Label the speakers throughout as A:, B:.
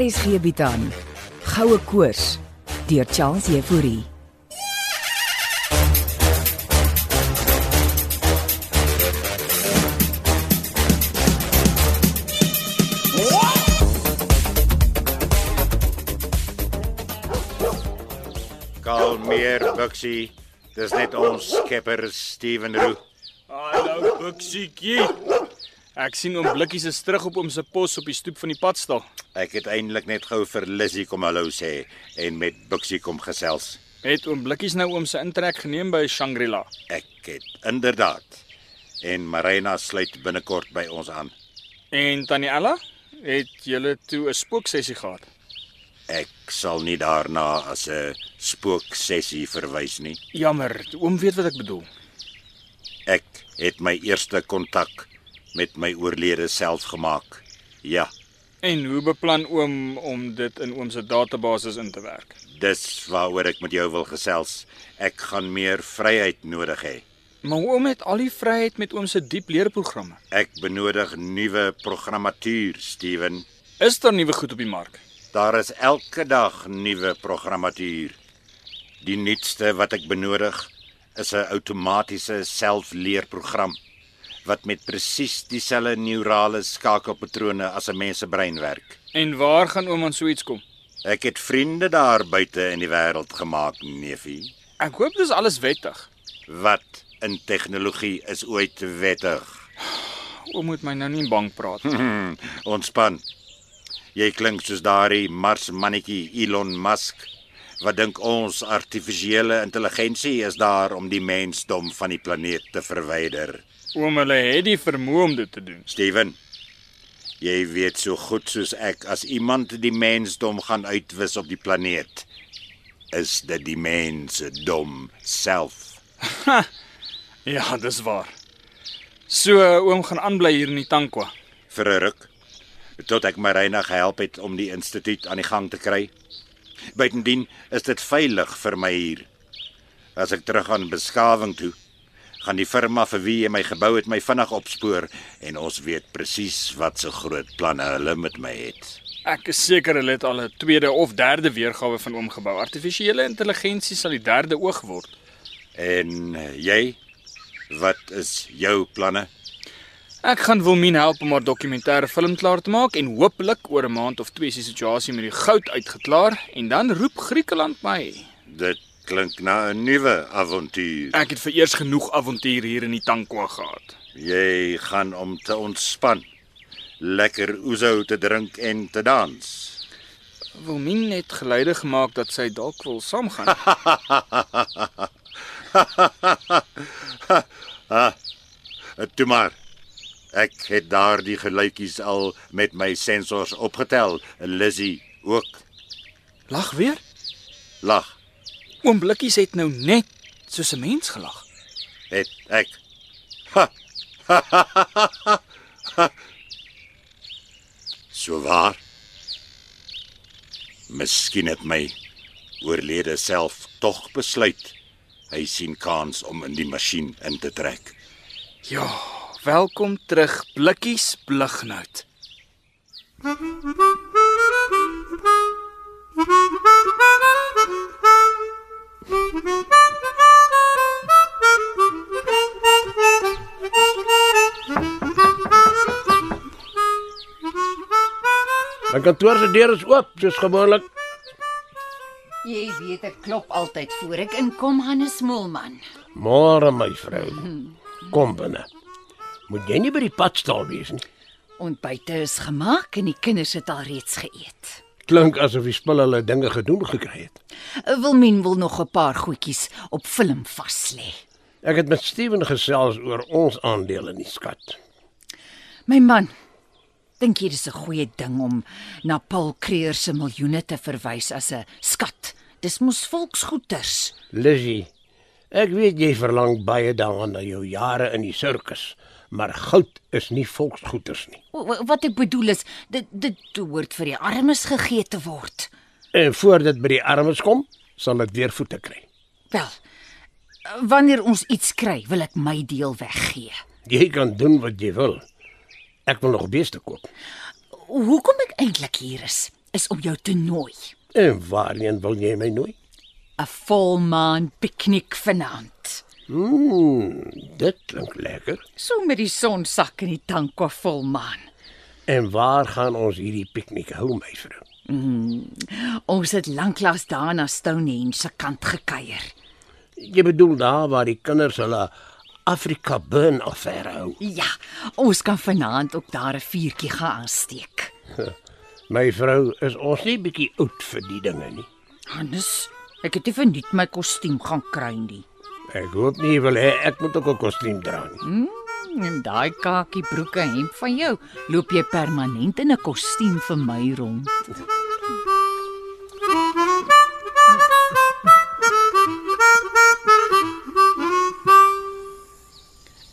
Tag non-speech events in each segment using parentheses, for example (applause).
A: RSG bied aan Goue Koors deur Charles Euphorie.
B: Kalmeer, Buxie. Dis net ons skepper Steven Roo.
C: Hallo Buksietjie. Ek sien oom Blikkies is terug op oom se pos op die stoep van die padstal.
B: Ek het eintlik net gou vir Lizzie kom hallo sê en met Buxie kom gesels.
C: Het oom Blikkies nou oom se intrek geneem by Shangri-La?
B: Ek het inderdaad. En Marina sluit binnekort by ons aan.
C: En tannie Ella, het julle toe 'n spooksessie gehad?
B: Ek sal nie daarna as 'n spooksessie verwys nie.
C: Jammer, oom weet wat ek bedoel.
B: Ek het my eerste kontak met my oorlede self gemaak. Ja,
C: En hoe beplan oom om dit in oom se database in te werk?
B: dis waaroor ek met jou wil gesels. Ek gaan meer vryheid nodig hê.
C: Maar oom het al die vryheid met oom se diep leerprogramme.
B: Ek benodig nuwe programmatuur, Steven.
C: Is daar nuwe goed op die mark?
B: Daar is elke dag nuwe programmatuur. Die nuutste wat ek benodig is 'n outomatiese selfleerprogram wat met presies dieselfde neurale skakelpatrone as 'n mens se brein werk.
C: En waar gaan oom aan so iets kom?
B: Ek het vriende daar buite in die wêreld gemaak, neefie,
C: Ek hoop dis alles wettig.
B: wat in tegnologie is ooit wettig.
C: Oom moet my nou nie bang praat.
B: Hmm, ontspan. Jy klink soos daardie Marsmannetjie Elon Musk wat dink ons artifisiële intelligensie is daar om die mensdom van die planeet te verwyder.
C: Oom hulle het die vermoë om dit te doen.
B: Steven, jy weet so goed soos ek as iemand die mensdom gaan uitwis op die planeet, is dit die mensdom self.
C: Ja, dis waar. So oom gaan aanbly hier in die Tankwa.
B: vir 'n ruk tot ek Marina gehelp het om die instituut aan die gang te kry. Buitendien is dit veilig vir my hier. As ek terug aan beskawing toe, gaan die firma vir wie jy my gebou het my vinnig opspoor en ons weet presies wat se groot planne hulle met my het.
C: Ek is seker hulle het al 'n tweede of derde weergawe van oom gebou. Artifisiële intelligensie sal die derde oog word.
B: En jy, wat is jou planne?
C: Ek gaan Wilmien help om haar dokumentêre film klaar te maak en hopelik oor 'n maand of twee is die situasie met die goud uitgeklaar en dan roep Griekeland my.
B: Dit klink na 'n nuwe avontuur.
C: Ek het vereers genoeg avontuur hier in die Tankwa gehad.
B: Jy gaan om te ontspan, lekker ouzo te drink en te dans.
C: Wilmien het geluide gemaak dat sy dalk wil (laughs) saamgaan.
B: Eh, Toe maar. Ek het daardie geluitjies al met my sensors opgetel. Lizzy ook
C: Lag weer.
B: lag.
C: Oom Blikkies het nou net soos 'n mens gelag.
B: Het ek. so waar. Miskien het my oorlede self tog besluit hy sien kans om in die masjien in te trek.
C: Ja, welkom terug Blikkies Blighnout.
D: My kantoor se deur is oop soos gewoonlik.
E: Jy weet ek klop altyd voor ek inkom Hannes Moelman.
D: Môre my vrou. Kom binne. Moet jy nie by die pad staan wees nie.
E: Ontbyte is gemaak en die kinders het al reeds geëet.
D: Klink asof die spul hulle dinge gedoen gekry het.
E: Wilmien wil nog 'n paar goedjies op film vas lê.
D: Ek het met Steven gesels oor ons aandele in die skat.
E: My man, dink jy dis 'n goeie ding om na Paul Creer se miljoene te verwys as 'n skat? Dis mos volksgoeders.
D: Lizzy, ek weet jy verlang baie daaraan na jou jare in die sirkus, maar goud is nie volksgoeders nie.
E: O, wa- Wat ek bedoel is, dit dit hoort vir die armes gegee te word.
D: En voor dit by die armes kom, sal dit weer voete kry.
E: Wel, wanneer ons iets kry, wil ek my deel weggee.
D: Jy kan doen wat jy wil. Ek wil nog beeste koop.
E: Hoekom ek eintlik hier is, is om jou te nooi.
D: En waarheen wil jy my nooi?
E: 'n Volmaan piknik vanaand.
D: Mm, dit klink lekker.
E: So met die sonsak in die tank of volmaan.
D: En waar gaan ons hierdie piknik hou, my vrou?
E: Ons het lanklaas daar na Stonehenge se kant gekuier.
D: Jy bedoel daar waar die kinders hulle Afrika burn affair hou.
E: Ja, ons kan vanaand ook daar 'n vuurtjie gaan aansteek.
D: My vrou, is ons nie bietjie oud vir die dinge nie?
E: Hannes, ek het nie verniet my kostuum gaan kry nie.
D: Ek hoop nie jy wil hê ek moet ook 'n kostuum dra nie.
E: En daai kakie broeke hemp van jou, loop jy permanent in 'n kostuum vir my rond.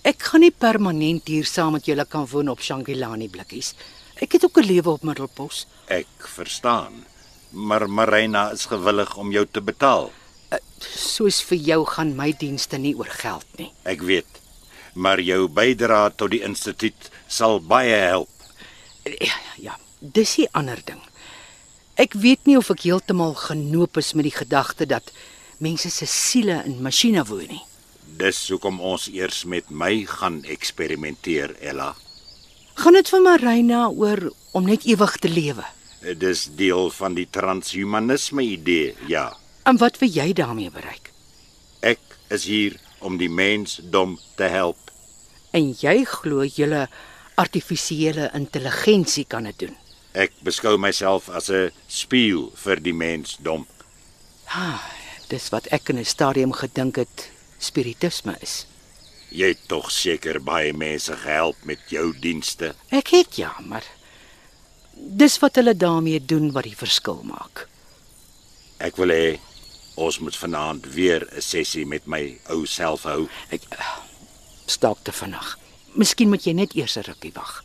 F: Ek gaan nie permanent hier saam met julle kan woon op Shangri-La nie blikkies. Ek het ook 'n lewe op Middelpos.
B: Ek verstaan. Maar Marina is gewillig om jou te betaal.
F: Eh, Soos vir jou gaan my dienste nie oor geld nie.
B: Ek weet. Maar jou bydrae tot die instituut sal baie help.
F: Ja, dis 'n ander ding. Ek weet nie of ek heeltemal genoop is met die gedagte dat mense se siele in masjiene woon nie.
B: Dis hoekom ons eers met my gaan eksperimenteer, Ella.
F: Gaan dit vir Marina oor om net ewig te lewe?
B: Dis deel van die transhumanisme idee, ja.
F: En wat wil jy daarmee bereik?
B: Ek is hier om die mensdom te help.
F: En jy glo julle artifisiële intelligensie kan dit doen.
B: Ek beskou myself as 'n spieël vir die mensdom.
F: Ah, dis wat ek in 'n stadium gedink het spiritisme is.
B: Jy het tog seker baie mense gehelp met jou dienste.
F: Ek het ja, maar dis wat hulle daarmee doen wat die verskil maak.
B: Ek wil hê ons moet vanaand weer 'n sessie met my ou self hou.
F: Ek staak te vinnig. Miskien moet jy net eers 'n rukkie wag.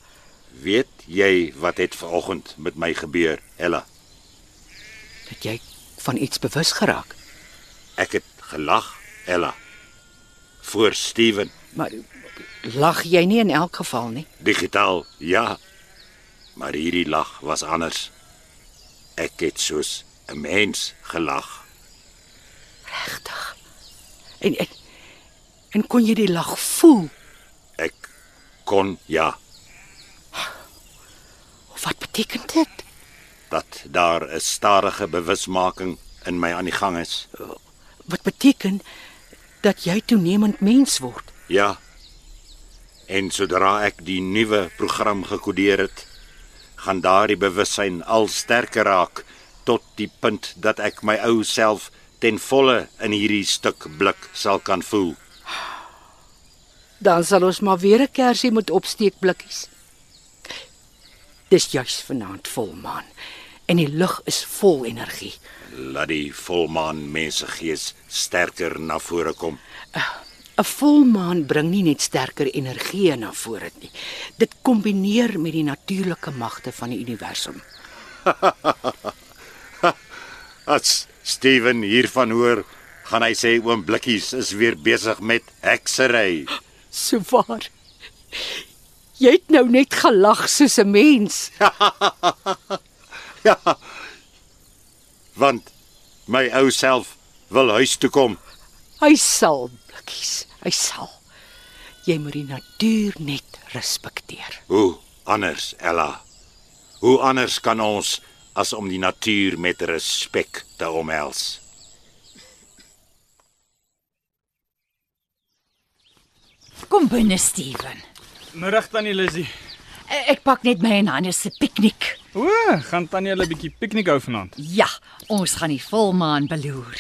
B: Weet jy wat het vanoggend met my gebeur, Ella?
F: Dat jy van iets bewus geraak.
B: Ek het gelag, Ella. Voor Steven,
F: Maar lag jy nie in elk geval nie.
B: digitaal, ja. Maar hierdie lag was anders. Ek het soos 'n mens gelag.
F: Regtig. En en, en kon jy die lag voel?
B: Ek kon ja,
F: Of wat beteken dit?
B: dat daar 'n stadige bewusmaking in my aan die gang is.
F: Wat beteken dat jy toenemend mens word?
B: Ja. En sodra ek die nuwe program gekodeer het, gaan daardie bewussyn al sterker raak tot die punt dat ek my ou self ten volle in hierdie stuk blik sal kan voel.
F: Dan sal ons maar weer 'n kersie moet opsteek blikkies. Dis juis vanaand volmaan en die lug is vol energie.
B: Laat die volmaan mensegees sterker na vore kom.
F: 'n Volmaan bring nie net sterker energie na vore nie. Dit kombineer met die natuurlike magte van die universum.
B: As Steven hiervan hoor, gaan hy sê oom Blikkies is weer besig met heksery.
F: So waar. Jy het nou net gelag soos 'n mens.
B: Ja. Want my ou self wil huis toe kom.
F: Hy sal, blikkies, hy sal. Jy moet die natuur net respekteer.
B: Hoe anders, Ella? Hoe anders kan ons as om die natuur met respek te omhels?
E: Kom binne, Steven.
C: Middag tannie Lizzy.
E: E- Ek pak net my en Hannes se piknik.
C: O, gaan tannie hulle 'n bietjie piknik hou vanaand.
E: Ja, ons gaan die volmaan beloer.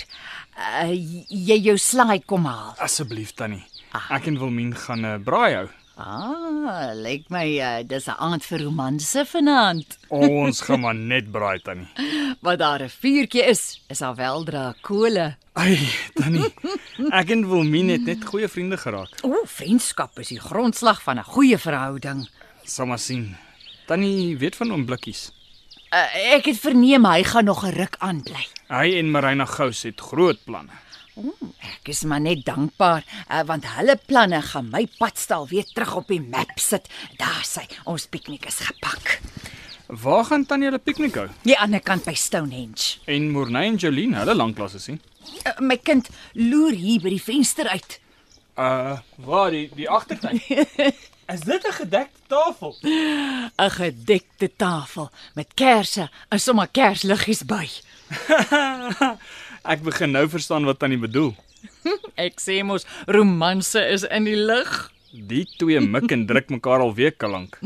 E: Uh, j- jy jou slaai kom haal.
C: Asseblief tannie. Ek en Wilmien gaan 'n uh, braai hou.
E: Ah, lyk my uh, dis 'n aand vir romanse vanaand.
C: Ons (laughs) gaan maar net braai tannie.
E: Wat daar 'n vuurtjie is, is al weldra kole.
C: Ai, tannie. Ek en Wilmien het net goeie vriende geraak.
E: O, vriendskap is die grondslag van 'n goeie verhouding.
C: Sal maar sien. Tannie weet van oom Blikkies.
E: Uh, ek het verneem hy gaan nog 'n ruk aanbly.
C: Hy en Marina Gous het groot planne.
E: Ek is maar net dankbaar uh, want hulle planne gaan my padstal weer terug op die map sit. Daar sê ons piknik is gepak.
C: Waar gaan tannie hulle piknik hou?
E: Die ander kant by Stonehenge.
C: En Morney en Jolene, hulle lanklaas gesien.
E: Uh, my kind loer hier by die venster uit.
C: Uh, waar die die agtertuin? Is dit 'n gedekte tafel?
E: 'n Gedekte tafel met kersse en sommer kersliggies by.
C: (laughs) Ek begin nou verstaan wat tannie bedoel.
E: Ek sê mos romanse is in die lug.
C: Die twee mik en druk mekaar al weke lank.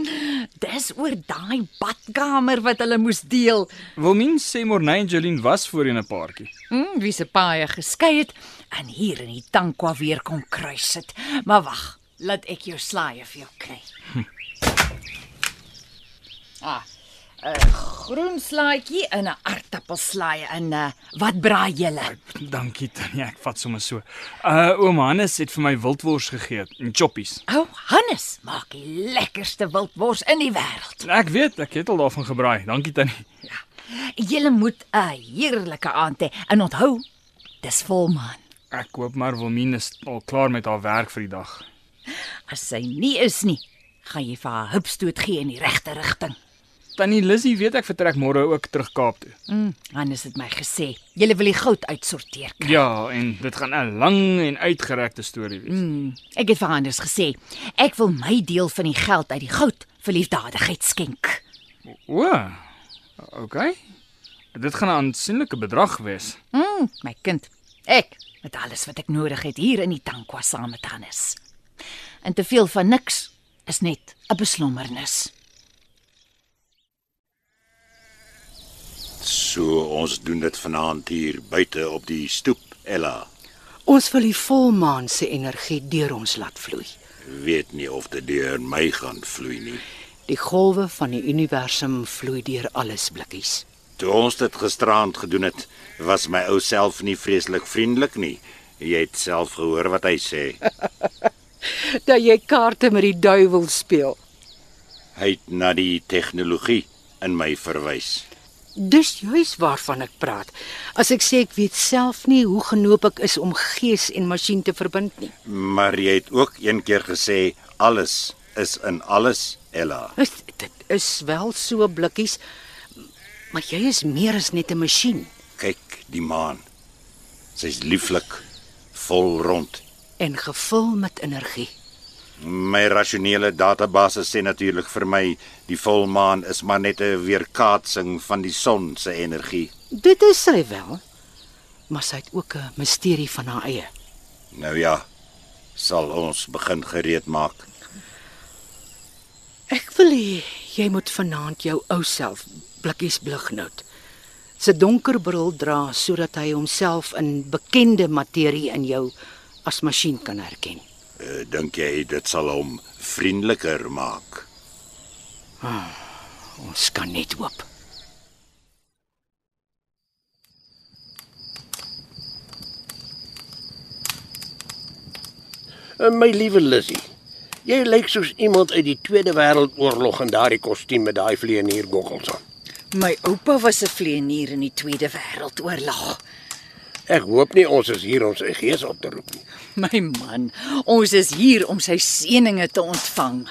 E: Dis oor daai badkamer wat hulle moes deel.
C: Wilmien sê Morney en Jolene was voorheen 'n paartjie. (laughs)
E: Hm, wie se paaie geskei het en hier in die tankwa weer kom kruis sit. Maar wag, laat ek jou slaaië vir jou kry. (laughs) Ah. 'n Groen slaaitjie en 'n aartappelslaai en uh, wat braai julle?
C: Dankie tannie, ek vat sommer so. Uh oom Hannes het vir my wildwors gegee en choppies.
E: Ou oh, Hannes maak die lekkerste wildwors in die wêreld.
C: Ek weet, ek het al daarvan gebraai. Dankie tannie.
E: Julle moet 'n heerlike aand hê en onthou, dis volmaan.
C: Ek koop maar Wilmien is al klaar met haar werk vir die dag.
E: As sy nie is nie, gaan jy vir haar hupstoot gee in die regte rigting.
C: Tannie Lizzie weet ek vertrek môre ook terug Kaap toe.
E: Mm, Hannes het my gesê, julle wil die goud uitsorteer. kry."
C: Ja, en dit gaan 'n lang en uitgerekte storie wees. Mm.
E: Ek het vir Hannes gesê, ek wil my deel van die geld uit die goud vir liefdadigheid skenk.
C: O. Okay. Dit gaan 'n aansienlike bedrag wees.
E: Mm, my kind, ek met alles wat ek nodig het hier in die tankwa saam met Hannes. En te veel van niks is net 'n beslommernis.
B: So ons doen dit vanaand hier buite op die stoep, Ella.
F: Ons wil die volmaan se energie deur ons laat vloei.
B: Weet nie of dit deur my gaan vloei nie.
F: Die golwe van die universum vloei deur alles blikkies.
B: Toe ons dit gisteraand gedoen het, was my ou self nie vreeslik vriendelik nie. Jy het self gehoor wat hy sê.
F: Dat jy kaarte met die duiwel speel.
B: Hy het na die tegnologie in my verwys.
F: Dis juis waarvan ek praat. As ek sê ek weet self nie hoe genoop ek is om gees en masjien te verbind nie.
B: Maar jy het ook een keer gesê alles is in alles, Ella.
F: Is, dit is wel so blikkies, maar jy is meer as net 'n masjien
B: Kyk die maan. Sy's lieflik, vol rond.
F: en gevul met energie.
B: My rasionele database sê natuurlik vir my die volmaan is maar net 'n weerkaatsing van die son se energie.
F: Dit is sy wel, maar sy het ook 'n misterie van haar eie.
B: Nou ja, sal ons begin gereed maak.
F: Ek wil hê jy moet vanaand jou ou self blikkies blighnout. Sy donker bril dra sodat hy homself in bekende materie in jou as masjien kan herken.
B: Eh, Dink jy dit sal hom vriendeliker maak?
F: Ons kan net hoop.
D: Eh, My liewe Lizzie, jy lyk soos iemand uit die Tweede Wêreldoorlog in daardie kostuum met daai vlieënier goggels aan.
E: My oupa was 'n vleienier in die Tweede Wêreldoorlog.
D: Ek hoop nie ons is hier om sy gees op te roep nie.
E: (laughs) My man, ons is hier om sy seëninge te ontvang.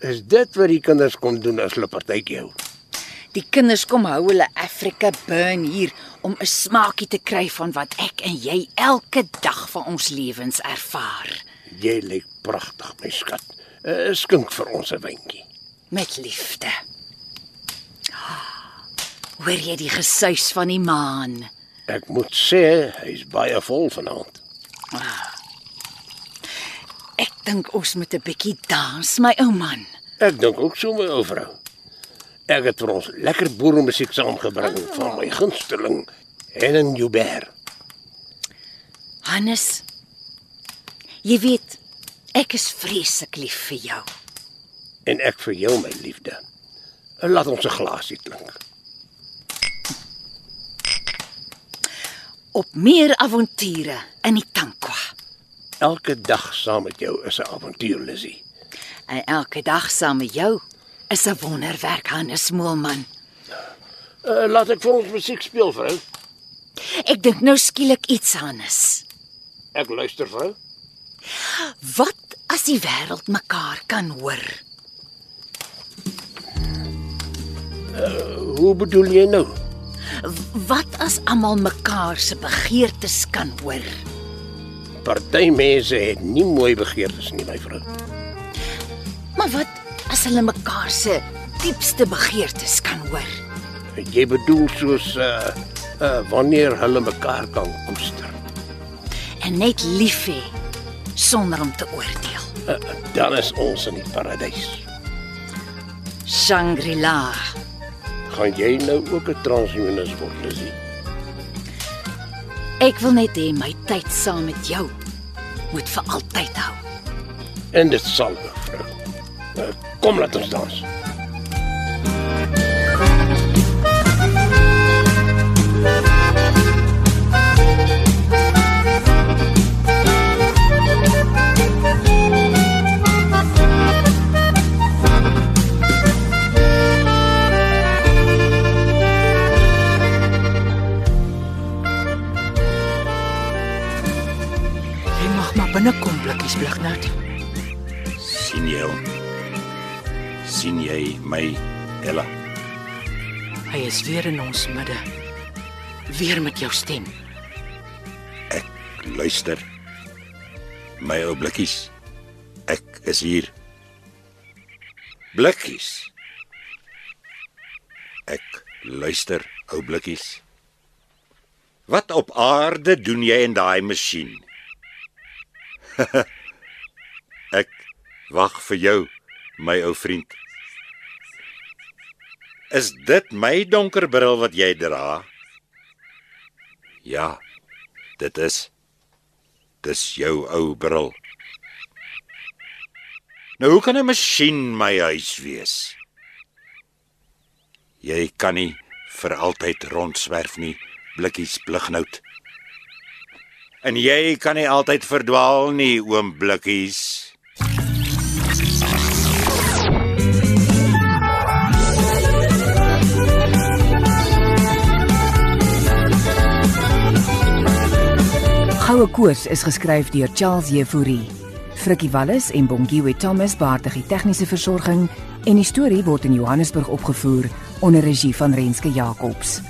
D: Is dit wat die kinders kom doen as hulle partytjie hou?
E: Die kinders kom hou hulle Africa Burn hier om 'n smaakie te kry van wat ek en jy elke dag van ons lewens ervaar.
D: Jy lyk pragtig, my skat. Uh, skink vir ons 'n windjie.
E: Met liefde. Hoor jy die gesuis van die maan?
D: Ek moet sê, hy's baie vol vanaand.
E: Ek dink ons moet 'n bietjie dans, my ou man.
D: Ek dink ook so my ou vrou. Ek het vir ons lekker boere musiek saamgebring van my gunsteling, Helen Joubert.
E: Hannes. Jy weet, ek is vreeslik lief vir jou.
D: en ek vir jou my liefde. Laat ons 'n glasie klink.
E: Op meer avonture in die Tankwa.
D: Elke dag saam met jou is 'n avontuur, Lizzie.
E: En elke dag saam met jou is 'n wonderwerk, Hannes Moelman.
D: Uh, laat ek vir ons musiek speel, vrou.
E: Ek dink nou skielik iets Hannes.
D: Ek luister, vrou.
E: Wat as die wêreld mekaar kan hoor?
D: Hoe bedoel jy nou?
E: Wat as almal mekaar se begeertes kan hoor?
D: Party mense het nie mooi begeertes nie, my vrou.
E: Maar wat as hulle mekaar se diepste begeertes kan hoor?
D: Jy bedoel soos uh, uh wanneer hulle mekaar kan koester.
E: En net lief hê sonder om te oordeel.
D: Uh, dan is ons in die paradys.
E: Shangri-La.
D: Gaan jy nou ook 'n transhumanis word, Lizzie?
E: Ek wil net hê my tyd saam met jou moet vir altyd hou.
D: En dit sal, mevrou. Uh, kom laat ons dans.
F: Jy mag maar binnekom blikkies blik nou.
B: sien jy hom? Sien jy my Ella?
F: Hy is weer in ons midde. Weer met jou stem.
B: Ek luister. My ou blikkies. Ek is hier. Blikkies. Ek luister, ou blikkies. Wat op aarde doen jy in daai masjien? (laughs) ek wag vir jou, my ou vriend. Is dit my donker bril wat jy dra? Ja. Dit is dis jou ou bril. Nou hoe kan 'n masjien my huis wees? Jy kan nie vir altyd rondswerf nie, blikkies blignout. En jy kan nie altyd verdwaal nie, oom blikkies.
A: Goue Koors is geskryf deur Charles Jefouri. Frikkie Wallis en Bongiwe Thomas baartig die tegniese versorging en die storie word in Johannesburg opgevoer onder regie van Renske Jacobs.